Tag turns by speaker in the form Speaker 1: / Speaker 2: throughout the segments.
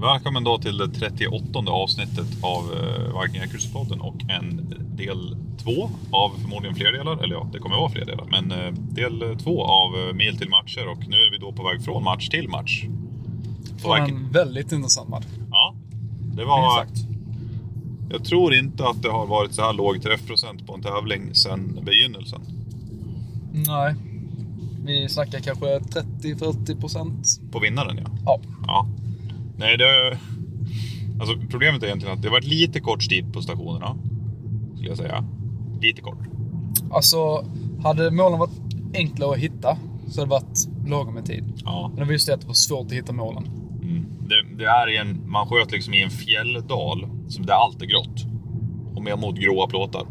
Speaker 1: Välkommen då till det 38 avsnittet av eh, Viking Accuracy-podden och en del två av förmodligen fler delar, eller ja, det kommer vara fler delar, men eh, del två av eh, Mil till matcher och nu är vi då på väg från match till match.
Speaker 2: På en väldigt intressant match.
Speaker 1: Ja, det var...
Speaker 2: Minst sagt.
Speaker 1: Jag tror inte att det har varit så här låg träffprocent på en tävling sedan begynnelsen.
Speaker 2: Nej. Vi snackar kanske 30-40 procent.
Speaker 1: På vinnaren ja.
Speaker 2: Ja.
Speaker 1: Ja. Nej, det... Alltså, problemet är egentligen att det har varit lite kort tid på stationerna. Skulle jag säga. Lite kort.
Speaker 2: Alltså, hade målen varit enkla att hitta så hade det varit lagom med tid.
Speaker 1: Ja.
Speaker 2: Men det var just det att det var svårt att hitta målen.
Speaker 1: Mm. Det, det är i en, man sköt liksom i en fjälldal som där allt är grått. Och med mot gråa plåtar.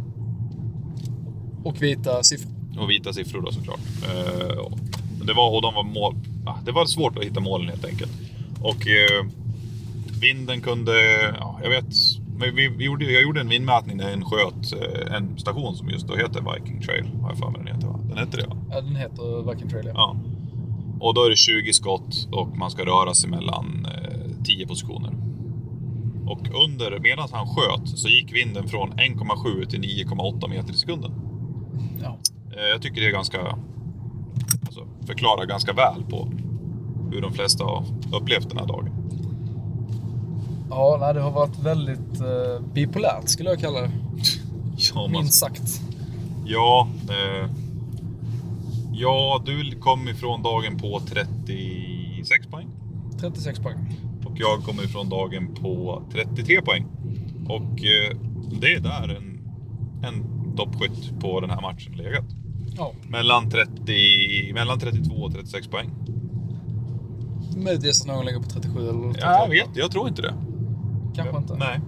Speaker 2: Och vita siffror.
Speaker 1: Och vita siffror då såklart. Eh, och det, var, och de var mål, ah, det var svårt att hitta målen helt enkelt. Och eh, vinden kunde, ja, jag vet, men vi, vi gjorde, jag gjorde en vindmätning när en sköt eh, en station som just då heter Viking Trail. Har jag för mig den heter va? Den heter det va?
Speaker 2: Ja, den heter Viking Trail. Ja.
Speaker 1: Ja. Och då är det 20 skott och man ska röra sig mellan eh, 10 positioner. Och under, medan han sköt, så gick vinden från 1,7 till 9,8 meter i sekunden.
Speaker 2: ja.
Speaker 1: Eh, Jag tycker det är ganska, alltså, förklarar ganska väl på hur de flesta har upplevt den här dagen.
Speaker 2: Ja, nej, det har varit väldigt eh, bipolärt skulle jag kalla det.
Speaker 1: Ja, man-
Speaker 2: Minst sagt.
Speaker 1: ja, eh, ja, du kom ifrån dagen på 36 poäng.
Speaker 2: 36 poäng.
Speaker 1: Och jag kommer ifrån dagen på 33 poäng. Och eh, det är där en, en toppskytt på den här matchen legat.
Speaker 2: Ja,
Speaker 1: Mellan, 30, mellan 32 och 36 poäng.
Speaker 2: möjligtvis att någon ligger på 37 eller 38.
Speaker 1: Ja, jag vet, jag tror inte det.
Speaker 2: Kanske inte.
Speaker 1: Nej.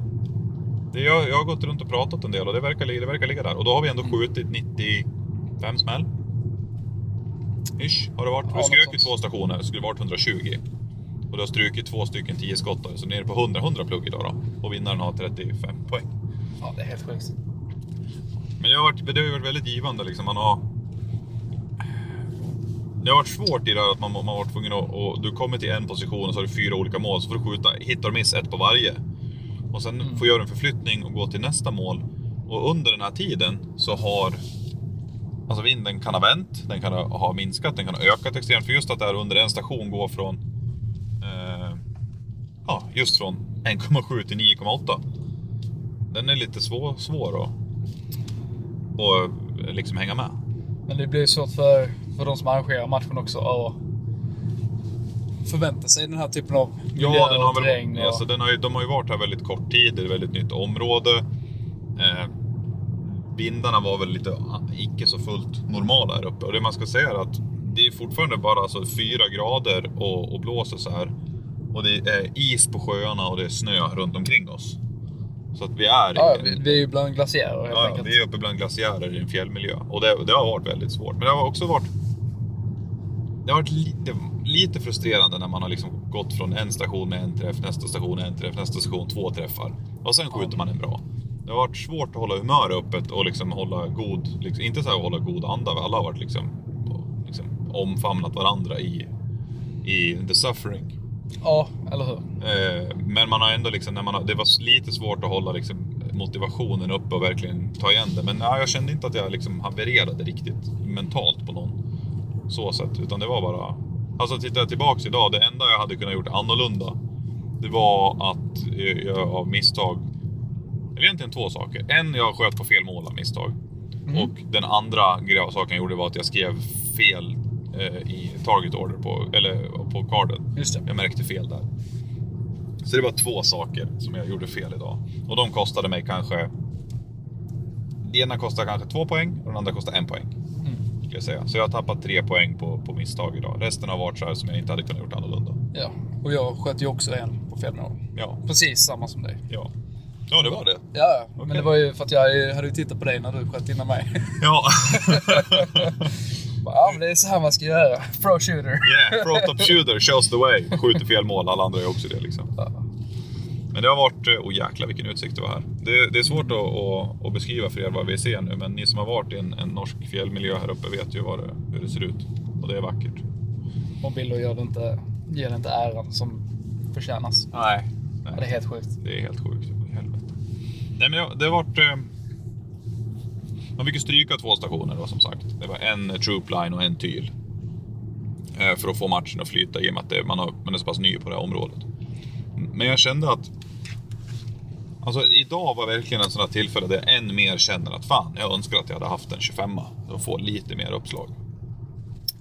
Speaker 1: Det, jag, jag har gått runt och pratat en del och det verkar, li- det verkar ligga där. Och då har vi ändå skjutit 95 smäll. Ish, har det varit.
Speaker 2: Ja,
Speaker 1: vi
Speaker 2: något
Speaker 1: skrök ju
Speaker 2: sånt.
Speaker 1: två stationer, det skulle varit 120. Och du har strukit två stycken 10 skottare, så nere på 100, 100 plugg idag då. Och vinnaren har 35 poäng.
Speaker 2: Ja, det är helt sjukt.
Speaker 1: Men det har varit, det har ju varit väldigt givande. Liksom. Man har, det har varit svårt i det här att man, man har varit tvungen att... Och du kommer till en position och så har du fyra olika mål, så får du skjuta hit och miss ett på varje. Och sen får göra en förflyttning och gå till nästa mål. Och under den här tiden så har... Alltså vinden kan ha vänt, den kan ha- ha minskat, den kan ha ökat extremt. För just att det här under en station går från... Eh, ja, just från 1,7 till 9,8. Den är lite svår, svår att och liksom hänga med.
Speaker 2: Men det blir svårt för, för de som arrangerar matchen också att förvänta sig den här typen av miljö
Speaker 1: den har
Speaker 2: och terräng.
Speaker 1: väl,
Speaker 2: Och,
Speaker 1: alltså, den har ju, de har ju varit här väldigt kort tid, det är ett väldigt nytt område. Eh, vindarna var väl lite ah, icke så fullt normala här uppe. Och det man ska säga är att det är fortfarande bara alltså, fyra grader och, och blåser så här. Och det är is på sjöarna och det är snö runt omkring oss. Så att vi är i
Speaker 2: ja,
Speaker 1: en-
Speaker 2: vi, vi är ju bland glaciärer helt
Speaker 1: Ja, ja,
Speaker 2: enkelt.
Speaker 1: vi är uppe bland glaciärer i en fjällmiljö och det, det har varit väldigt svårt. Men det har också varit. Det har varit lite, lite frustrerande när man har liksom gått från en station med en träff, nästa station en träff, nästa station två träffar och sen skjuter man en bra. Det har varit svårt att hålla humör öppet och liksom hålla god, liksom, inte så här att hålla god anda. Alla har varit liksom, på- liksom omfamnat varandra i, i the suffering.
Speaker 2: Ja, eller hur?
Speaker 1: Eh, Men man har ändå liksom, när man har, det var lite svårt att hålla liksom motivationen uppe och verkligen ta igen det. Men ja, jag kände inte att jag liksom havererade riktigt mentalt på någon så sätt. Utan det var bara... Alltså tittar jag tillbaks idag, det enda jag hade kunnat gjort annorlunda. Det var att jag- jag av misstag... Eller egentligen två saker. En, jag sköt på fel mål av misstag. Och den andra gre- saken jag gjorde var att jag skrev fel eh, i target order på, eller på carden.
Speaker 2: Just det.
Speaker 1: Jag märkte fel där. Så det var två saker som jag gjorde fel idag. Och de kostade mig kanske... Det ena kostade kanske två poäng och den andra kostade en poäng.
Speaker 2: Mm.
Speaker 1: Skulle jag säga. Så jag har tappat tre poäng på, på misstag idag. Resten har varit så här som jag inte hade kunnat gjort annorlunda.
Speaker 2: Ja, och jag sköt ju också en på fel mål.
Speaker 1: Ja,
Speaker 2: Precis samma som dig.
Speaker 1: ja. Ja, det var det.
Speaker 2: Ja, ja.
Speaker 1: Okej.
Speaker 2: men det var ju för att jag hade ju tittat på dig när du sköt innan mig.
Speaker 1: Ja.
Speaker 2: Bara, ja, men det är så här man ska göra. Pro shooter.
Speaker 1: Yeah, pro top shooter shows the way. Skjuter fel mål, alla andra gör också det liksom. Men det har varit, eh, oh jäklar vilken utsikt det var här. Det, det är svårt att, att, att beskriva för er vad vi ser nu, men ni som har varit i en, en norsk fjällmiljö här uppe vet ju vad det, hur det ser ut. Och det är vackert.
Speaker 2: Och Billo gör det inte, ger det inte äran som förtjänas.
Speaker 1: Nej.
Speaker 2: Ja, Det är helt sjukt.
Speaker 1: Det är helt sjukt. I helvete. Nej, men jag- det har varit... eh, Man fick ju stryka två stationer då, som sagt. Det var en Troopline och en Tyl. Eh, För att få matchen att flyta i och med att det, man, har, man är så pass ny på det här området. Men jag kände att... Alltså idag var verkligen en sån här tillfälle där jag än mer känner att fan, jag önskar att jag hade haft en 25 För att få lite mer uppslag.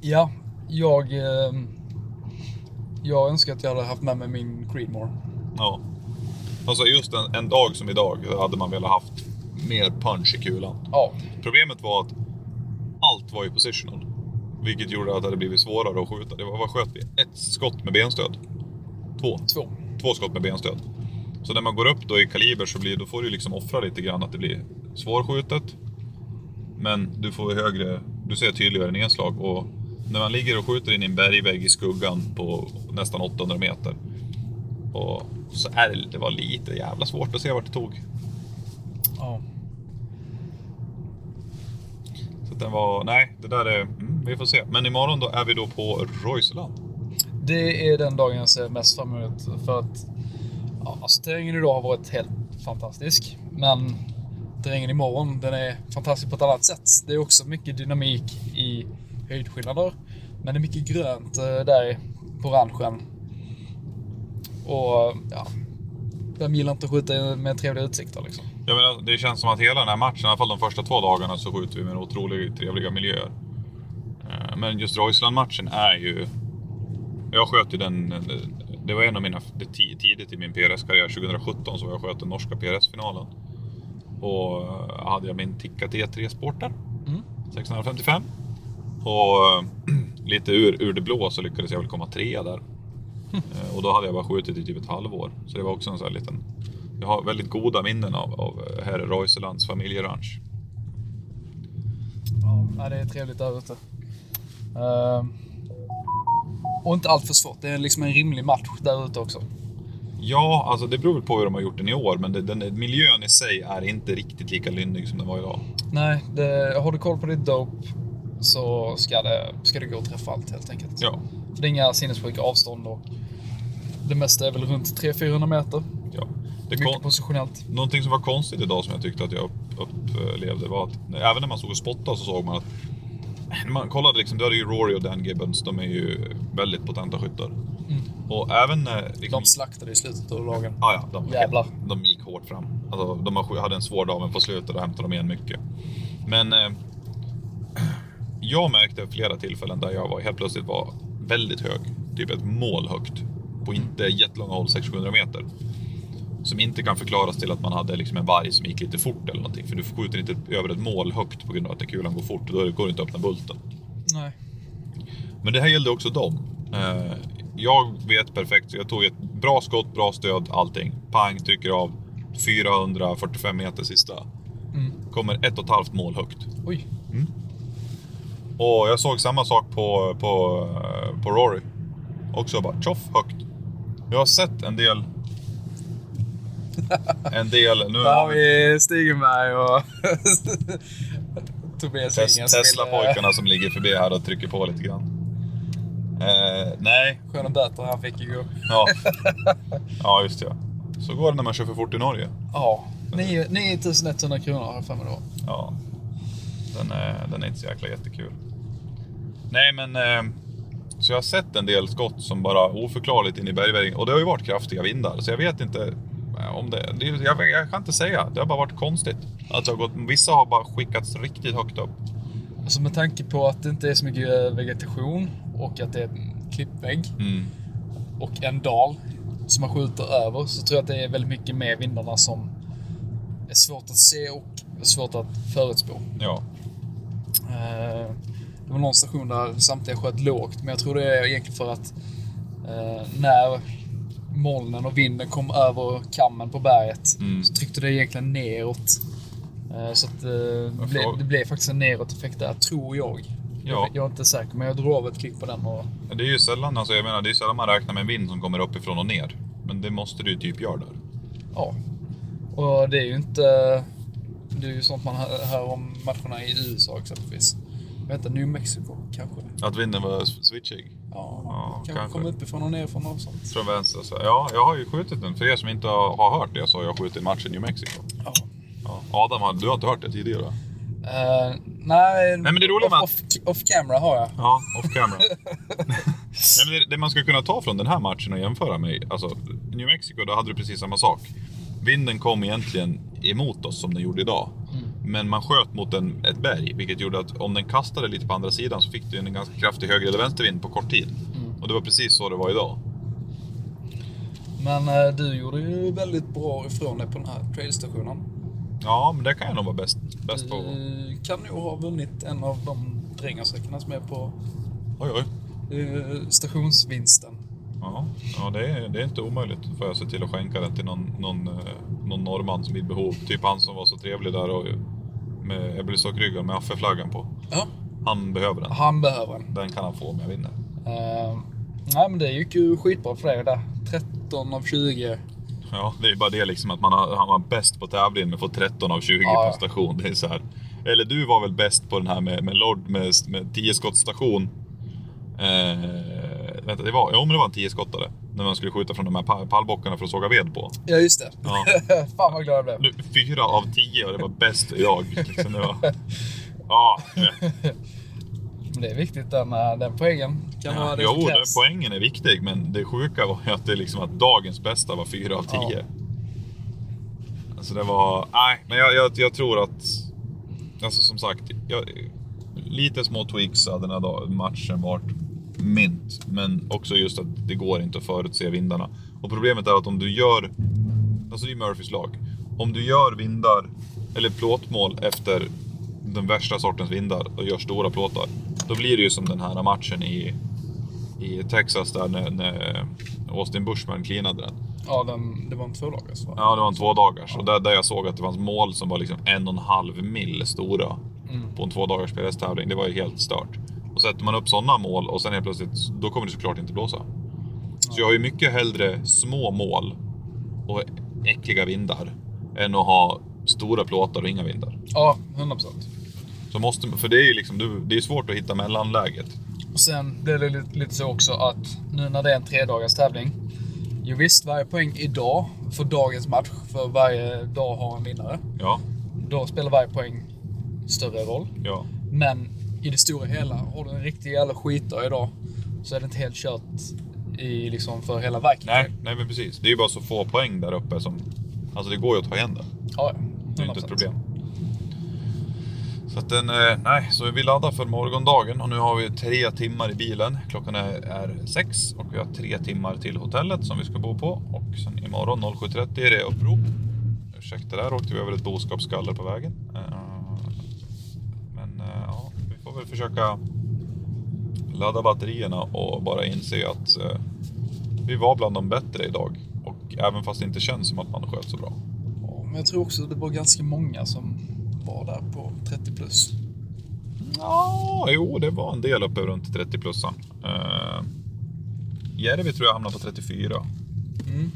Speaker 2: Ja, jag... Eh, jag önskar att jag hade haft med mig min Creedmoor.
Speaker 1: Ja. Alltså just en, en dag som idag hade man velat haft mer punch i kulan.
Speaker 2: Ja.
Speaker 1: Problemet var att allt var ju positional. Vilket gjorde att det hade blivit svårare att skjuta. Det var, vad sköt vi? Ett skott med benstöd. Två.
Speaker 2: Två.
Speaker 1: Två skott med benstöd. Så när man går upp då i kaliber så blir, då får du liksom offra lite grann att det blir svårskjutet. Men du får högre, du ser tydligare nedslag och när man ligger och skjuter in i en bergvägg i skuggan på nästan 800 meter. Och så är det, det var lite jävla svårt att se vart det tog.
Speaker 2: Ja.
Speaker 1: Så att den var, nej, det där är, mm, vi får se. Men imorgon då är vi då på Roiseland.
Speaker 2: Det är den dagen jag ser mest fram emot. För att ja, alltså, terrängen idag har varit helt fantastisk. Men terrängen imorgon, den är fantastisk på ett annat sätt. Det är också mycket dynamik i höjdskillnader. Men det är mycket grönt eh, där på ranchen. Och ja, vem gillar inte att skjuta med trevliga utsikter liksom?
Speaker 1: Jag menar, det känns som att hela den här matchen, i alla fall de första två dagarna, så skjuter vi med otroligt trevliga miljöer. Eh, Men just Roiseland-matchen är ju... Jag sköt ju den... Det var en av mina... Det ti- tidigt i min PRS-karriär, 2017, så var jag och sköt den norska PRS-finalen. Och eh, hade jag min Tikka T3 Sport där.
Speaker 2: Mm.
Speaker 1: 655. Och eh, lite ur, ur det blå så lyckades jag väl komma trea där. Eh, Och då hade jag bara skjutit i typ ett halvår. Så det var också en sån här liten... Jag har väldigt goda minnen av, av eh, herr Reuselands familjeranch.
Speaker 2: Ja, nej, det är trevligt där ute. Ehm, och inte allt för svårt. Det är liksom en rimlig match där ute också.
Speaker 1: Ja, alltså det beror väl på hur de har gjort den i år, men det, den, miljön i sig är inte riktigt lika lynnig som den var idag.
Speaker 2: Nej, det, har du koll på ditt dope så ska det, ska det gå att träffa allt helt enkelt.
Speaker 1: Ja,
Speaker 2: För det är inga sinnessjuka avstånd och det mesta är väl runt 300-400 meter.
Speaker 1: ja. Det
Speaker 2: Mycket
Speaker 1: kon-
Speaker 2: positionellt.
Speaker 1: Någonting som var konstigt idag som jag tyckte att jag upp- upplevde var att när- även när man såg och spottade så såg man att när man kollade liksom, du hade ju Rory och Dan Gibbons, de är ju väldigt potenta skyttar.
Speaker 2: Mm.
Speaker 1: Och även när... Liksom,
Speaker 2: De slaktade i slutet av lagen.
Speaker 1: ah, ja, de,
Speaker 2: Jävlar.
Speaker 1: de gick hårt fram. Alltså, de har- hade en svår dag, men på slutet där hämtade de igen mycket. Men eh, jag märkte flera tillfällen där jag var, helt plötsligt var väldigt hög. Typ ett mål högt. På inte jättelånga håll, 600-700 meter. Som inte kan förklaras till att man hade liksom en varg som gick lite fort eller någonting. För du skjuter inte över ett mål högt på grund av att kulan går fort. Då går det inte att öppna bulten.
Speaker 2: Nej.
Speaker 1: Men det här gällde också dem. Eh, Jag vet perfekt, så jag tog ett bra skott, bra stöd, allting. Pang, trycker av. 445 meter sista.
Speaker 2: Mm.
Speaker 1: Kommer ett och ett halvt mål högt.
Speaker 2: Oj.
Speaker 1: Och jag såg samma sak på, på, eh, på Rory. Också bara tjoff, högt. Jag har sett en del... En del... Nu
Speaker 2: Där har
Speaker 1: har vi
Speaker 2: vi Stigenberg och Tobias
Speaker 1: tes,
Speaker 2: Ingen som vill, eh,
Speaker 1: Tesla-pojkarna som ligger förbi här och trycker på lite grann. Eh, nej,
Speaker 2: Sköna böter han fick igår.
Speaker 1: Ja. ja, just det. ja. Så går det när man kör för fort i Norge.
Speaker 2: Ja. 9 9100 kronor har jag för mig då.
Speaker 1: Ja. Den är, den är inte så jäkla jättekul. Nej, men... eh, Så jag har sett en del skott som bara oförklarligt in i bergväggen. Och det har ju varit kraftiga vindar, så jag vet inte eh, om det... det är- jag, jag kan inte säga. Det har bara varit konstigt. Att det har gått, vissa har bara skickats riktigt högt upp.
Speaker 2: Alltså med tanke på att det inte är så mycket eh, vegetation och att det är en klippvägg.
Speaker 1: Mm.
Speaker 2: och en dal som man skjuter över så tror jag att det är väldigt mycket med vindarna som är svårt att se och svårt att förutspå.
Speaker 1: Ja.
Speaker 2: Eh, Det var någon station där samtliga sköt lågt men jag tror det är egentligen för att eh, när molnen och vinden kom över kammen på berget
Speaker 1: Mm.
Speaker 2: så tryckte det egentligen neråt. Eh, Så att eh, det, blev,
Speaker 1: fråga-
Speaker 2: det blev faktiskt en neråt-effekt där, tror jag.
Speaker 1: Ja.
Speaker 2: Jag är inte säker, men jag drog av ett klick på den. Och,
Speaker 1: Men Det är ju sällan, alltså, jag menar, det är sällan man räknar med en vind som kommer uppifrån och ner. Men det måste du ju typ göra där.
Speaker 2: Ja. Och det är ju inte... Det är ju sånt man hör hör om matcherna i USA exempelvis. Vänta, New Mexico kanske?
Speaker 1: Att vinden var switchig.
Speaker 2: Ja,
Speaker 1: Ja,
Speaker 2: kanske,
Speaker 1: kanske.
Speaker 2: kommer uppifrån och nerifrån och sånt.
Speaker 1: Från vänster. Så, ja, jag har ju skjutit den. För er som inte har har hört det så har jag skjutit matchen i New Mexico.
Speaker 2: Ja.
Speaker 1: Ja. Adam, har- du har inte hört det tidigare?
Speaker 2: Eh, nej,
Speaker 1: men det är roligt
Speaker 2: off,
Speaker 1: med att-
Speaker 2: off, off camera har jag.
Speaker 1: Ja, off camera. Nej, men det, det man ska kunna ta från den här matchen och jämföra med, alltså New Mexico, då hade du precis samma sak. Vinden kom egentligen emot oss som den gjorde idag. Men man sköt mot en, ett berg, vilket gjorde att om den kastade lite på andra sidan så fick du en ganska kraftig höger eller vänstervind på kort tid. Och det var precis så det var idag.
Speaker 2: Men eh, du gjorde ju väldigt bra ifrån dig på den här trailstationen.
Speaker 1: Ja, men det kan jag nog vara bäst, bäst på.
Speaker 2: Du kan nog ha vunnit en av de drängarsäckarna som är på
Speaker 1: Oj, oj.
Speaker 2: eh, stationsvinsten.
Speaker 1: Ja, ja det, är, det är inte omöjligt. Då får jag se till att skänka den till någon, någon, eh, någon norrman som är i behov. Typ han som var så trevlig där och med Ebbelstock-ryggen med Affe-flaggan på.
Speaker 2: Ja,
Speaker 1: Han behöver den.
Speaker 2: han behöver den.
Speaker 1: Den kan han få om jag vinner.
Speaker 2: Eh, nej, men det gick ju skitbra för dig där. 13 av 20.
Speaker 1: Ja, det är bara det liksom att man har, han var bäst på tävlingen men får 13 av 20
Speaker 2: Ja.
Speaker 1: på station. Det är så här. Eller du var väl bäst på den här med, med, Lord, med, med 10 skottstation. Eh, vänta, det var, jo, men det var en 10 skottare. När man skulle skjuta från de här pa- pallbockarna för att såga ved på.
Speaker 2: Ja, just det.
Speaker 1: Ja.
Speaker 2: Fan vad glad jag blev.
Speaker 1: Nu, fyra av tio och det var bäst jag. Liksom, det var... Ja, eh,
Speaker 2: Men det är viktigt, den, eh, den poängen. Kan vara det
Speaker 1: jo,
Speaker 2: som
Speaker 1: det,
Speaker 2: krävs.
Speaker 1: poängen är viktig, men det sjuka var ju att, det liksom att dagens bästa var fyra av tio. Alltså det var... Nej, men jag, jag, jag tror att... Alltså som sagt, jag, lite små tweaks hade den här dag, matchen varit mint. Men också just att det går inte att förutse vindarna. Och problemet är att om du gör Alltså det är Murphys lag. Om du gör vindar, eller plåtmål efter den värsta sortens vindar och gör stora plåtar. Då blir det ju som den här matchen i, i Texas där när, när Austin Bushman cleanade den.
Speaker 2: Ja, den, det var en tvålagars va?
Speaker 1: Ja, det var en tvådagars. Och där, där jag såg att det fanns mål som var liksom en och en halv mil stora på en tvådagars PRS-tävling. Det var ju helt stört. Och sätter man upp sådana mål och sen helt plötsligt, då kommer det såklart inte blåsa. Så jag har ju mycket hellre små mål och äckliga vindar än att ha stora plåtar och inga vindar.
Speaker 2: Ja, 100 procent.
Speaker 1: Så måste, för det är ju liksom, du- det är svårt att hitta mellanläget.
Speaker 2: Och sen blev det lite, lite så också att nu när det är en tredagars tävling. Jo visst, varje poäng idag för dagens match, för varje dag har en vinnare.
Speaker 1: Ja,
Speaker 2: Då spelar varje poäng större roll.
Speaker 1: ja.
Speaker 2: Men i det stora hela, har du en riktig jävla skitdag idag så är det inte helt kört i, liksom, för hela verket.
Speaker 1: Nej, nej men precis. Det är ju bara så få poäng där uppe som... Alltså det går ju att ta igen det.
Speaker 2: Ja,
Speaker 1: Det är inte ett
Speaker 2: 100%.
Speaker 1: problem. Så att den, eh, nej, så vi laddar för morgondagen och nu har vi tre timmar i bilen. Klockan är, är sex och vi har tre timmar till hotellet som vi ska bo på. Och sen imorgon 07.30 är det upprop. Ursäkta, där åkte vi över ett boskapsgaller på vägen. Eh, Men eh, ja, vi får väl försöka ladda batterierna och bara inse att eh, vi var bland de bättre idag. Och även fast det inte känns som att man sköt så bra.
Speaker 2: Ja, men jag tror också det var ganska många som var där på 30 plus.
Speaker 1: Ja, jo, det var en del uppe runt 30 plussan. Uh, Järvi tror jag hamnade på 34.
Speaker 2: Mm.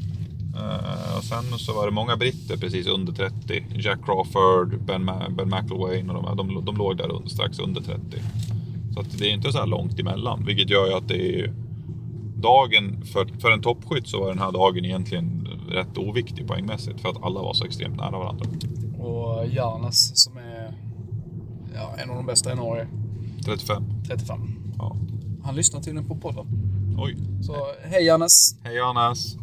Speaker 1: Eh, och sen så var det många britter precis under 30. Jack Crawford, Ben, Ma- ben McIlwain och de, här, de, de låg där under, strax under 30. Så att det är inte så här långt emellan, vilket gör ju att det är dagen för, för en toppskytt så var den här dagen egentligen rätt oviktig poängmässigt för att alla var så extremt nära varandra.
Speaker 2: Och Jarnes som är ja, en av de bästa i Norge,
Speaker 1: 35.
Speaker 2: 35.
Speaker 1: Ja.
Speaker 2: Han lyssnar tydligen på podden.
Speaker 1: Oj,
Speaker 2: Så hej Jarnes!
Speaker 1: Hej Johannes!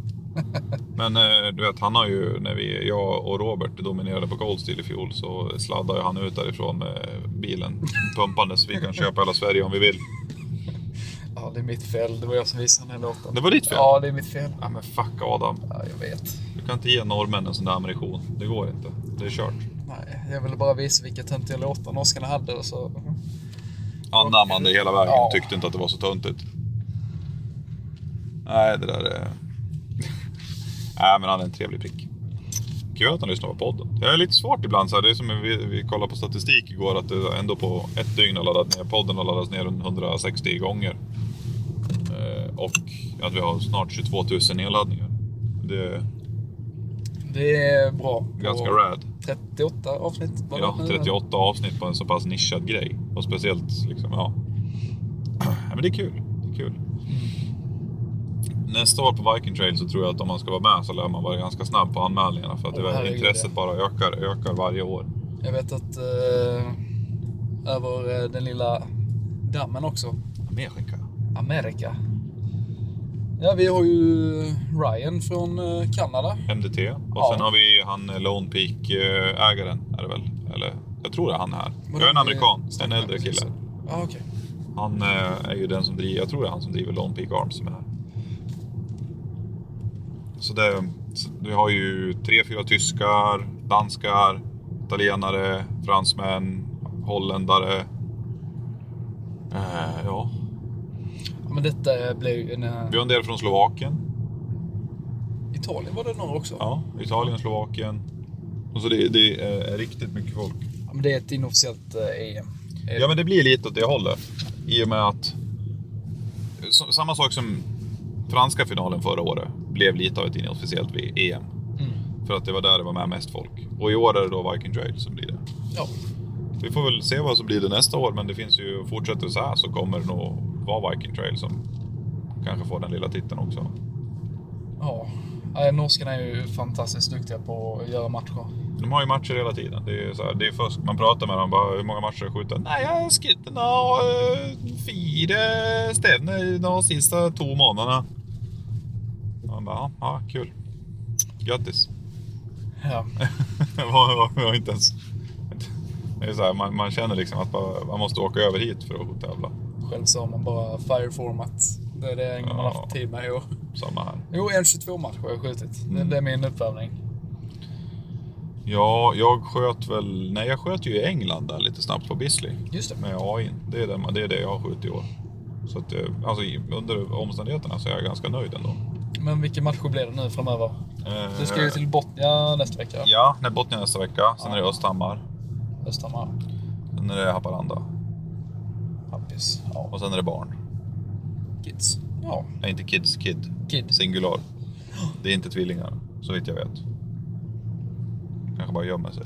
Speaker 1: Men eh, du vet, han har ju, när vi, jag och Robert dominerade på Gold Steel i fjol så sladdade han ut därifrån med bilen pumpandes. Vi kan köpa hela Sverige om vi vill.
Speaker 2: Ja, det är mitt fel. Det var jag som visade den här låten.
Speaker 1: Det var ditt fel?
Speaker 2: Ja, det är mitt fel.
Speaker 1: Ja, men fuck Adam.
Speaker 2: Ja, jag vet.
Speaker 1: Du kan inte ge norrmän en sån där ammunition. Det går inte. Det är kört.
Speaker 2: Nej, jag ville bara visa vilka töntiga låtar norskarna hade. Så...
Speaker 1: Anammande hela vägen.
Speaker 2: Ja.
Speaker 1: Tyckte inte att det var så töntigt. Nej, det där är... Nej, men han är en trevlig prick. Kul att han lyssnar på podden. Det är lite svårt ibland. Så här. Det är som när vi, vi kollade på statistik igår att det ändå på ett dygn har laddat ner podden har laddats ner 160 gånger. Eh, och att vi har snart 22 000 nedladdningar. Det är
Speaker 2: Det är bra.
Speaker 1: ganska
Speaker 2: Och
Speaker 1: rad.
Speaker 2: 38 avsnitt var det
Speaker 1: Ja,
Speaker 2: nu, eller?
Speaker 1: 38 avsnitt på en så pass nischad grej. Och speciellt liksom, ja. ja men det är kul. Det är kul. Nästa år på Viking Trail så tror jag att om man ska vara med så lär man vara ganska snabb på anmälningarna för att
Speaker 2: Åh,
Speaker 1: det,
Speaker 2: herregud,
Speaker 1: intresset
Speaker 2: ja.
Speaker 1: bara ökar, ökar varje år.
Speaker 2: Jag vet att eh, över eh, den lilla dammen också,
Speaker 1: Amerika.
Speaker 2: Amerika. Ja, vi har ju Ryan från eh, Kanada.
Speaker 1: MDT. Och
Speaker 2: Ja.
Speaker 1: sen har vi ju han eh, Lone Peak-ägaren, är det väl? Eller, jag tror det är han här.
Speaker 2: Var
Speaker 1: Jag är en
Speaker 2: det-
Speaker 1: amerikan, en äldre
Speaker 2: precis.
Speaker 1: kille.
Speaker 2: Ja, okej.
Speaker 1: Han eh, är ju den som driver, jag tror det är han som driver Lone Peak Arms som är här. Så det, så vi har ju tre, fyra tyskar, danskar, italienare, fransmän, holländare. Eh, ja.
Speaker 2: Ja, Men detta blev ju en... eh,
Speaker 1: Vi har en del från Slovakien,
Speaker 2: Italien var det några också.
Speaker 1: ja, Italien, Slovakien. Och så det, det är riktigt mycket folk.
Speaker 2: Ja, men det är ett inofficiellt eh, EM. Eh,
Speaker 1: Ja, men det blir lite åt det hållet. I och med att... s- Samma sak som franska finalen förra året blev lite av ett inofficiellt EM.
Speaker 2: mm.
Speaker 1: För att det var där det var med mest folk. Och i år är det då Viking Trail som blir det.
Speaker 2: ja.
Speaker 1: Vi får väl se vad som blir det nästa år, men det finns ju... Fortsätter det så här så kommer det nog vara Viking Trail som kanske får den lilla titeln också.
Speaker 2: ja. Nej, Norskarna är ju fantastiskt duktiga på att göra matcher.
Speaker 1: De har ju matcher hela tiden. Det är ju så här, det är först man pratar med dem bara, hur många matcher har du skjutit? Nej, jag har skjutit nå, eh, fyra stävner de sista två månaderna. Och Man bara, ja, ja kul. Grattis.
Speaker 2: Ja.
Speaker 1: Det var, var, var inte ens... Det är så här, man, man känner liksom att bara, man måste åka över hit för att tävla.
Speaker 2: Själv så har man bara fire format. Det är det man har
Speaker 1: Ja.
Speaker 2: haft tid med i år.
Speaker 1: Samma här.
Speaker 2: Jo, en 22 match har jag skjutit. Det,
Speaker 1: Mm.
Speaker 2: det är min uppvärmning.
Speaker 1: Ja, jag sköt väl... Nej, jag sköt ju i England där lite snabbt på Bisley.
Speaker 2: Just det.
Speaker 1: med AI. Det är det, det, är det jag har skjutit i år. Så att, eh, alltså, i- under omständigheterna så är jag ganska nöjd ändå.
Speaker 2: Men vilken match blir det nu framöver?
Speaker 1: Eh,
Speaker 2: Du ska ju till Botnia nästa vecka.
Speaker 1: Ja, när Botnia nästa vecka. Sen är det Östhammar.
Speaker 2: Östhammar.
Speaker 1: Sen är det Haparanda.
Speaker 2: Happis. Ja.
Speaker 1: Och sen är det barn.
Speaker 2: Kids. Ja.
Speaker 1: Nej, inte kids, kid.
Speaker 2: Kids.
Speaker 1: Singular. Det är inte tvillingar, så vitt jag vet. Kanske bara gömmer sig.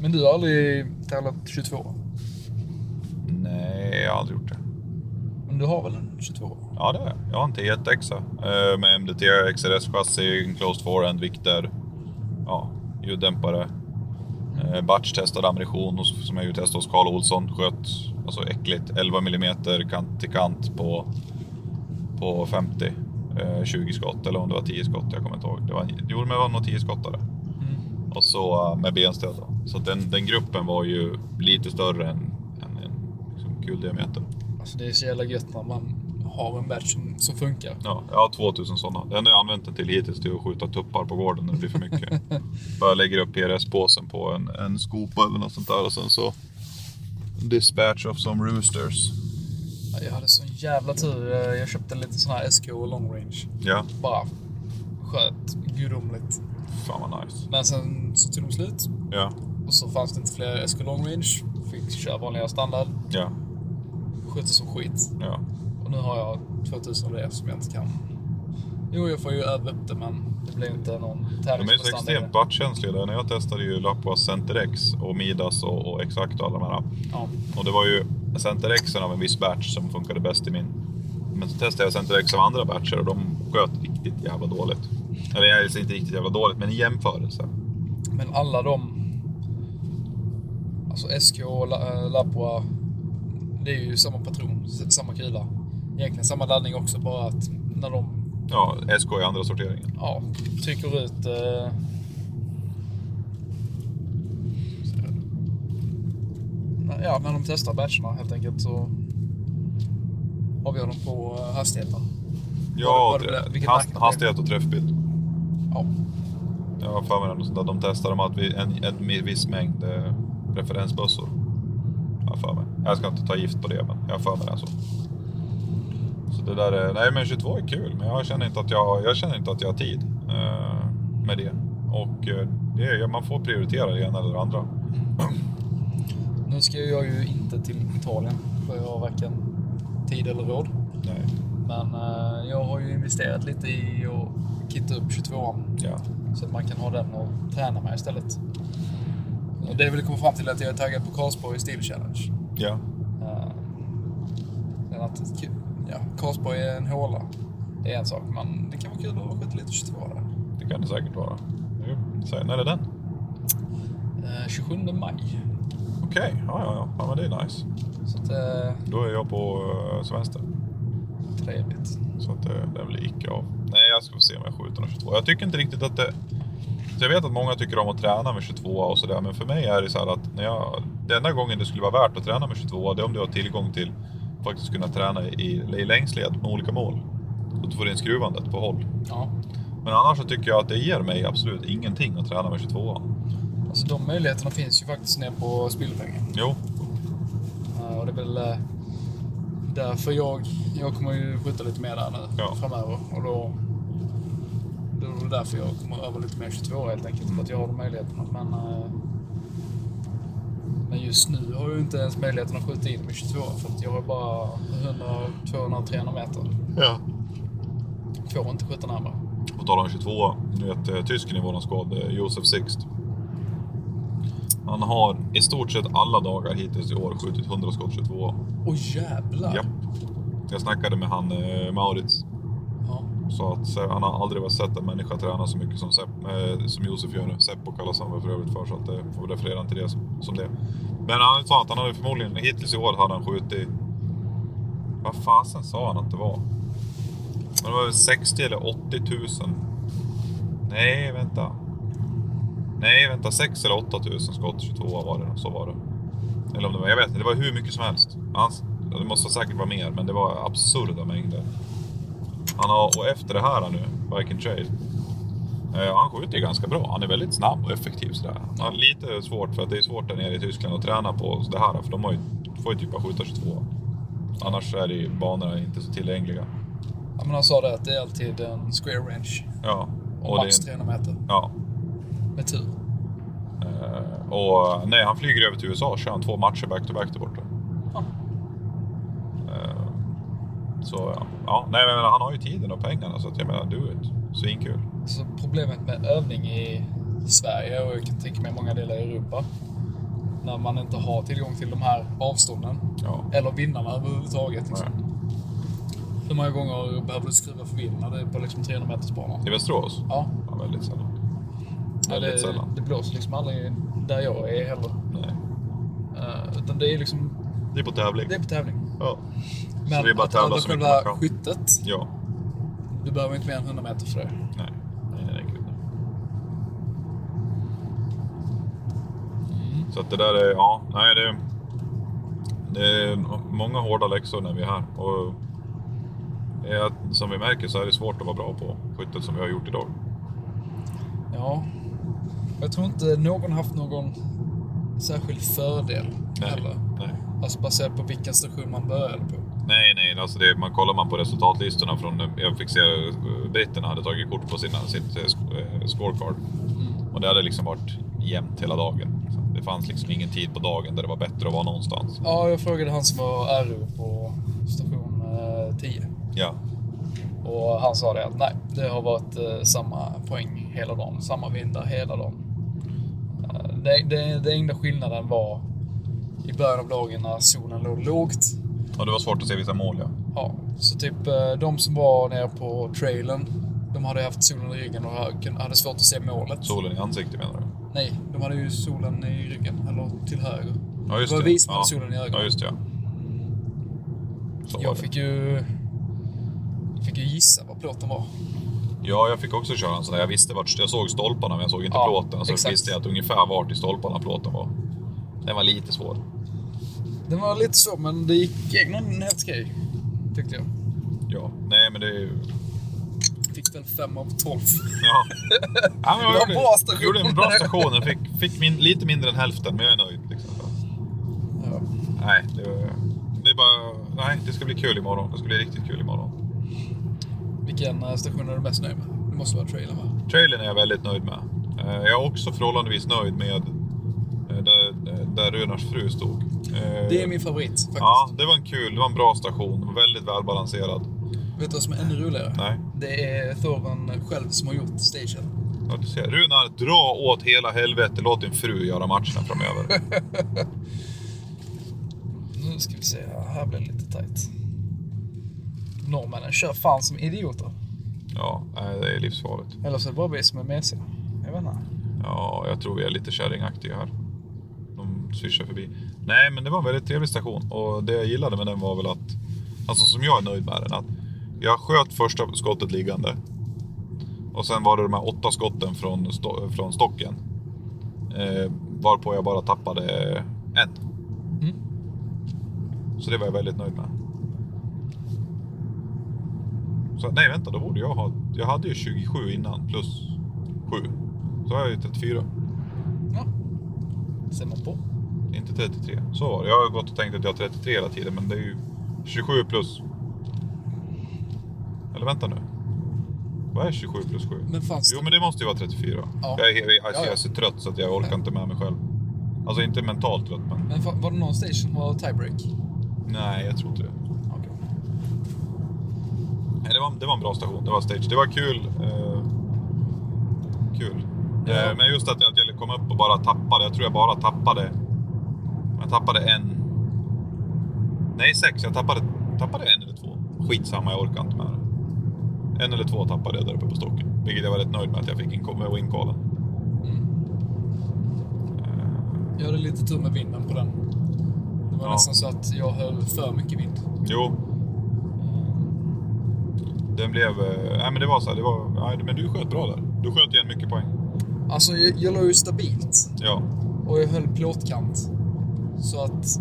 Speaker 2: Men du har aldrig tävlat 22?
Speaker 1: Nej, jag har aldrig gjort det.
Speaker 2: Men du har väl en 22?
Speaker 1: Ja, det har jag. Jag har en T1-exa eh, med MDT, XRS-chassi, en closed forehand, vikter, ja, ljuddämpare. Eh, Batch testade ammunition hos- som jag ju testade hos Carl Olsson. Sköt alltså äckligt 11 mm kant till kant på, på 50. Eh, 20 skott eller om det var 10 skott, jag kommer inte ihåg. Det var, jo, men det var nog 10 skottare.
Speaker 2: Mm.
Speaker 1: Och så eh, med benstöd då. Så att den, den gruppen var ju lite större än, än en liksom, kuldiameter.
Speaker 2: Alltså det är så jävla gött när man har en batch som, som funkar.
Speaker 1: Ja, jag har 2000 sådana. Det enda jag använt den till hittills det är att skjuta tuppar på gården när det blir för mycket. Bara lägger upp PRS-påsen på en, en skopa eller något sånt där och sen så dispatch of some roosters.
Speaker 2: Ja, Jag hade sån jävla tur. Eh, Jag köpte lite sån här SK long range.
Speaker 1: Ja,
Speaker 2: Bara sköt gudomligt.
Speaker 1: fan vad nice.
Speaker 2: Men sen så tog de slut
Speaker 1: Ja,
Speaker 2: och så fanns det inte fler SK long range. Fick köra vanliga standard.
Speaker 1: ja,
Speaker 2: Skötte som skit.
Speaker 1: ja.
Speaker 2: Och nu har jag 2000 av det som jag inte kan. Jo, jag får ju öva upp det, men det blir inte någon
Speaker 1: De är ju så
Speaker 2: tävlingsprestanda. i
Speaker 1: extremt
Speaker 2: det.
Speaker 1: wattkänsliga. där. När jag testade ju Lappas Centerex och Midas och, och Exakt och alla de här.
Speaker 2: Ja.
Speaker 1: Och det var ju Centerexen av en viss batch som funkade bäst i min. Men så testade jag Centerex av andra batcher och de sköt riktigt jävla dåligt. Eller alltså inte riktigt jävla dåligt, men i jämförelse.
Speaker 2: Men alla de... Alltså SK och La- eh, Lapua, det är ju samma patron, s- samma kula. Egentligen samma laddning också, bara att när de
Speaker 1: Ja, SK i andra sorteringen.
Speaker 2: ja, trycker ut... Eh, ja, när de testar batcherna helt enkelt så avgör de på eh, hastigheten.
Speaker 1: Ja,
Speaker 2: Vad det- vad det- vilket
Speaker 1: hast,
Speaker 2: märke det är.
Speaker 1: hastighet och träffbild.
Speaker 2: Ja.
Speaker 1: Jag har för mig något sånt där. De testar dem att vi, en, en viss mängd eh, referensbössor. Jag har för mig. Jag ska inte ta gift på det, men jag har för mig det. Så. så det där är, nej men 22 är kul, men jag känner inte att jag, jag, känner inte att jag har tid eh, med det. Och eh, det är, man får prioritera det ena eller det andra.
Speaker 2: Nu ska jag ju inte till Italien, för jag har varken tid eller råd.
Speaker 1: Nej.
Speaker 2: Men eh, jag har ju investerat lite i att kitta upp 22an
Speaker 1: Ja.
Speaker 2: så att man kan ha den och träna med istället. Och det vill komma fram till att jag är taggad på Karlsborg Steel Challenge.
Speaker 1: Ja.
Speaker 2: Eh, Sen att kul. Ja, Karlsborg är en håla. Det är en sak, men det kan vara kul att skjuta lite 22 där.
Speaker 1: Det kan det säkert vara. Jo, Så, när är den?
Speaker 2: Eh, 27 maj.
Speaker 1: Okej, ja, ja, ja. ja men det är nice.
Speaker 2: Så att, eh,
Speaker 1: Då är jag på eh, semester.
Speaker 2: trevligt.
Speaker 1: Så att eh, det, det blir icke av. Nej, jag ska få se om jag skjuter den 22. Jag tycker inte riktigt att det... Så jag vet att många tycker om att träna med 22 och sådär, men för mig är det så här att när jag, den enda gången det skulle vara värt att träna med 22 det är om du har tillgång till faktiskt kunna träna i, i längsled med olika mål. Och du får in skruvandet på håll.
Speaker 2: Ja.
Speaker 1: Men annars så tycker jag att det ger mig absolut ingenting att träna med 22
Speaker 2: Alltså de möjligheterna finns ju faktiskt nere på Spillvängen.
Speaker 1: Jo,
Speaker 2: Eh, Och det är väl eh, därför jag, jag kommer ju skjuta lite mer där nu
Speaker 1: Ja.
Speaker 2: framöver. Och då, då är det därför jag kommer öva lite mer 22 helt enkelt.
Speaker 1: Mm.
Speaker 2: För att jag har de möjligheterna. Men, eh, men just nu har jag ju inte ens möjligheten att skjuta in med 22 För att jag har bara 100, 200, 300 meter.
Speaker 1: Ja.
Speaker 2: Får inte skjuta närmare.
Speaker 1: På tal om 22, nu vet eh, tysken i våran skåd, eh, Josef Sixt. Han har i stort sett alla dagar hittills i år skjutit 100 skott 22.
Speaker 2: Åh jävlar!
Speaker 1: Ja. Jag snackade med han eh, Maurits.
Speaker 2: Ja.
Speaker 1: Sa att se- han har aldrig varit sett en människa träna så mycket som, Sepp, eh, som Josef gör nu. Seppo kallas han väl för övrigt för, så att eh, får referera han till det som, som det. Men han sa att han hade förmodligen, hittills i år hade han skjutit... Vad fasen sa han att det var? Men det var väl 60 eller 80 000? Nej, vänta. Nej, vänta. 6 eller 8 000 skott 22 var det. Så var det. Eller om det var, jag vet inte. Det var hur mycket som helst. Han, det måste säkert vara mer, men det var absurda mängder. Han har, och efter det här nu, Viking Trail, eh, han skjuter ju ganska bra. Han är väldigt snabb och effektiv sådär. Han har lite svårt, för att det är svårt där nere i Tyskland att träna på det här, för de har ju, får ju typ bara skjuta 22. Annars är det ju, banorna inte så tillgängliga.
Speaker 2: Ja, men han sa det att det är alltid en square range.
Speaker 1: Ja.
Speaker 2: Och,
Speaker 1: det är
Speaker 2: max
Speaker 1: en-
Speaker 2: 300 meter.
Speaker 1: Ja.
Speaker 2: Med tur.
Speaker 1: Eh, Och nej, han flyger över till USA och kör han två matcher back-to-back där borta.
Speaker 2: Ja.
Speaker 1: Eh, Så ja. ja nej, men jag menar, han har ju tiden och pengarna så att jag menar, do it. Svinkul.
Speaker 2: Alltså, problemet med övning i Sverige och jag kan tänka mig många delar i Europa. När man inte har tillgång till de här avstånden.
Speaker 1: Ja.
Speaker 2: Eller vinnarna överhuvudtaget. Liksom.
Speaker 1: Nej.
Speaker 2: Hur många gånger behöver du skruva för vind när det är på liksom 300 meters bana?
Speaker 1: I Västerås?
Speaker 2: Ja.
Speaker 1: Ja, väldigt sällan.
Speaker 2: ja
Speaker 1: Väldigt
Speaker 2: det,
Speaker 1: sällan.
Speaker 2: det blåser liksom aldrig där jag är heller.
Speaker 1: Nej.
Speaker 2: Eh, utan det är liksom
Speaker 1: Det är på tävling.
Speaker 2: det är på tävling.
Speaker 1: Ja.
Speaker 2: Men
Speaker 1: så det är bara att
Speaker 2: att öva
Speaker 1: tävla så mycket man
Speaker 2: själva
Speaker 1: kan.
Speaker 2: skyttet,
Speaker 1: Ja.
Speaker 2: du behöver inte mer än 100 meter för det.
Speaker 1: Nej. Nej, nej, nej, gud, nej.
Speaker 2: Mm.
Speaker 1: Så att det där är, ja, nej det... Det är många hårda läxor när vi är här. Och det är att- som vi märker så är det svårt att vara bra på skyttet som vi har gjort idag.
Speaker 2: Ja. Jag tror inte någon haft någon särskild fördel heller.
Speaker 1: nej.
Speaker 2: Alltså baserat på vilken station man började på.
Speaker 1: Nej, nej, alltså det, man kollar man på resultatlistorna från, jag fick se eh, britterna hade tagit kort på sina, sitt eh, sk- eh, scorecard. Och det hade liksom varit jämnt hela dagen. Det fanns liksom ingen tid på dagen där det var bättre att vara någonstans.
Speaker 2: Ja, jag frågade han som var RO på station eh, 10.
Speaker 1: Ja,
Speaker 2: Och han sa det att nej, det har varit eh, samma poäng hela dagen. Samma vindar hela dagen. Eh, det, det, det enda skillnaden var i början av dagen när solen låg lågt.
Speaker 1: och det var svårt att se vissa mål ja.
Speaker 2: Ja, så typ eh, de som var nere på trailen, de hade haft solen i ryggen och hö- hade svårt att se målet.
Speaker 1: Solen i ansiktet menar du?
Speaker 2: Nej, de hade ju solen i ryggen, eller till höger.
Speaker 1: Ja,
Speaker 2: det var vi som hade solen i ögonen.
Speaker 1: Ja, just det ja. Så var
Speaker 2: jag
Speaker 1: det.
Speaker 2: fick ju, fick ju gissa vad plåten var.
Speaker 1: Ja, jag fick också köra en sån där. Jag visste vart, jag såg stolparna men jag såg inte
Speaker 2: Ja,
Speaker 1: plåten. Så
Speaker 2: exakt.
Speaker 1: visste jag att ungefär vart i stolparna plåten var. Den var lite svår.
Speaker 2: Den var lite så, men det gick egentligen helt okej. Tyckte jag.
Speaker 1: Ja, nej men det är ju...
Speaker 2: Fick väl 5 av 12.
Speaker 1: Ja. ja men
Speaker 2: Det var
Speaker 1: jag
Speaker 2: en
Speaker 1: gjorde,
Speaker 2: bra station.
Speaker 1: gjorde en bra station. Jag fick, fick min, lite mindre än hälften, men jag är nöjd. Liksom.
Speaker 2: Ja.
Speaker 1: Nej, det, var- det är bara... Nej, det ska bli kul imorgon. Det ska bli riktigt kul imorgon.
Speaker 2: Vilken eh, station är du mest nöjd med? Det måste vara trailen va?
Speaker 1: Trailern är jag väldigt nöjd med. Eh, Jag är också förhållandevis nöjd med eh, där, eh, där Runars fru stod. Eh,
Speaker 2: Det är min favorit faktiskt.
Speaker 1: Ja, det var en kul. Det var en bra station. Väldigt välbalanserad.
Speaker 2: Vet du vad som är ännu roligare?
Speaker 1: Nej.
Speaker 2: Det är Thoran själv som har gjort stagen.
Speaker 1: Ja, du ser. Runar, dra åt hela helvete. Låt din fru göra matcherna framöver.
Speaker 2: Nu ska vi se, här. här blir det lite tajt. Norrmännen kör fan som idioter.
Speaker 1: Ja, nej, det är livsfarligt.
Speaker 2: Eller så är det bara vi som är mesiga. Jag vet inte.
Speaker 1: Ja, jag tror vi är lite kärringaktiga här. De svischar förbi. Nej, men det var en väldigt trevlig station och det jag gillade med den var väl att, alltså som jag är nöjd med den, att jag sköt första skottet liggande. Och sen var det de här åtta skotten från, sto- från stocken. Eh, varpå jag bara tappade en.
Speaker 2: Mm.
Speaker 1: Så det var jag väldigt nöjd med. Så, nej, vänta, då borde jag ha... Jag hade ju 27 innan, plus 7. Så har jag ju 34.
Speaker 2: Ja. Ser man på.
Speaker 1: Inte 33. Så var det. Jag har gått och tänkt att jag har 33 hela tiden, men det är ju 27 plus... Eller vänta nu. Vad är 27 plus 7?
Speaker 2: Men fanns det-
Speaker 1: Jo, men det måste ju vara 34.
Speaker 2: Ja.
Speaker 1: Jag, är, jag, är-
Speaker 2: Ja,
Speaker 1: jag
Speaker 2: ja.
Speaker 1: är så trött så att jag orkar inte med mig själv. Alltså inte mentalt trött, men...
Speaker 2: Men fa- var det någon station som var tiebreak?
Speaker 1: Nej, jag tror inte det.
Speaker 2: Okej.
Speaker 1: Nej, det, var, det var en bra station. Det var stage. Det var kul. Eh, kul.
Speaker 2: Ja.
Speaker 1: Eh, men just att jag, att jag kom upp och bara tappade. Jag tror jag bara tappade... Jag tappade en... Nej, sex. Jag tappade, tappade en eller två. Skitsamma, jag orkar inte med det. En eller två tappade jag där uppe på stocken. Vilket jag var rätt nöjd med att jag fick in, med wincallen.
Speaker 2: Mm. Jag hade lite tur med vinden på den. Det var
Speaker 1: Ja.
Speaker 2: nästan så att jag höll för mycket vind.
Speaker 1: Jo, den blev... eh, Nej, men det var så här. Det var, nej, men du sköt bra där. Du sköt igen mycket poäng.
Speaker 2: Alltså, jag, jag la ju stabilt
Speaker 1: Ja.
Speaker 2: och jag höll plåtkant. Så att...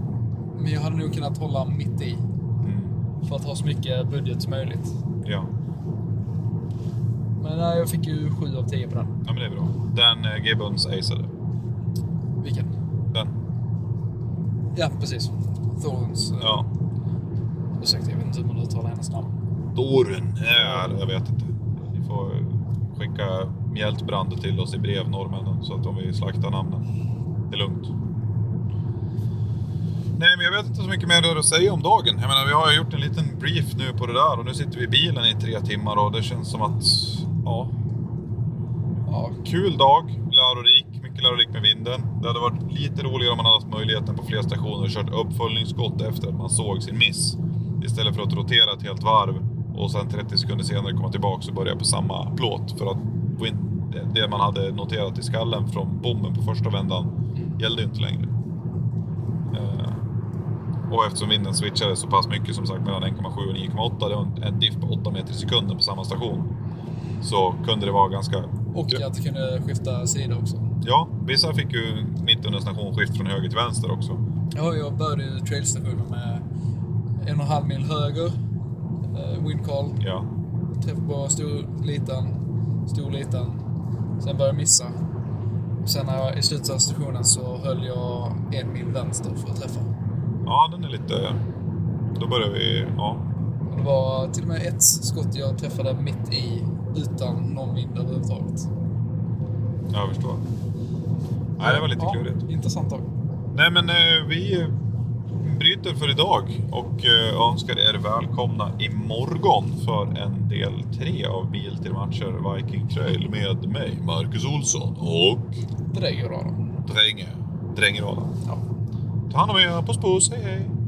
Speaker 2: Men jag hade nog kunnat hålla mitt i
Speaker 1: Mm.
Speaker 2: för att ha så mycket budget som möjligt.
Speaker 1: Ja.
Speaker 2: Men nej, jag fick ju 7 av 10 på den.
Speaker 1: Ja men det är bra. Den eh, Gibbons aceade.
Speaker 2: Vilken?
Speaker 1: Den.
Speaker 2: Ja, precis. Thorns. eh,
Speaker 1: Ja.
Speaker 2: Ursäkta, jag vet inte hur man uttalar hennes namn.
Speaker 1: Doren. Ja, jag vet inte. Ni får skicka mjältbrand till oss i brev norrmännen så att de vill slakta namnen. Det är lugnt. Nej men jag vet inte så mycket mer att säga om dagen. Jag menar vi har ju gjort en liten brief nu på det där och nu sitter vi i bilen i tre timmar och det känns som att ja,
Speaker 2: Ja,
Speaker 1: Kul dag, lärorik, mycket lärorik med vinden. Det hade varit lite roligare om man hade haft möjligheten på fler stationer och kört uppföljningsskott efter att man såg sin miss. Istället för att rotera ett helt varv och sen 30 sekunder senare komma tillbaka och börja på samma plåt. För att få in det man hade noterat i skallen från bommen på första vändan gällde ju inte längre. Eh, Och eftersom vinden switchade så pass mycket som sagt mellan 1,7 och 9,8, det var en- en diff på 8 meter i sekunden på samma station. Så kunde det vara ganska...
Speaker 2: och att kunna skifta sida också.
Speaker 1: Ja, vissa fick ju mitt under station skift från höger till vänster också.
Speaker 2: Ja, jag började ju trailstationen med en och en halv mil höger. eh, Windcall.
Speaker 1: Ja,
Speaker 2: Träff på stor, liten, stor, liten. Sen började jag missa. Sen när jag, i slutet av stationen så höll jag en mil vänster för att träffa.
Speaker 1: ja den är lite... Då börjar vi... Ja,
Speaker 2: Och det var till och med ett skott jag träffade mitt i utan någon vind överhuvudtaget.
Speaker 1: jag förstår. Nej, det var lite
Speaker 2: ja,
Speaker 1: klurigt.
Speaker 2: Intressant dag.
Speaker 1: Nej, men eh, vi bryter för idag och eh, önskar er välkomna imorgon för en del tre av Bil till matcher Viking Trail med mig, Marcus Olsson och
Speaker 2: Det där går bra då.
Speaker 1: Dränge. Dränge Adam.
Speaker 2: Ja.
Speaker 1: Ta hand om er, puss puss, hej hej!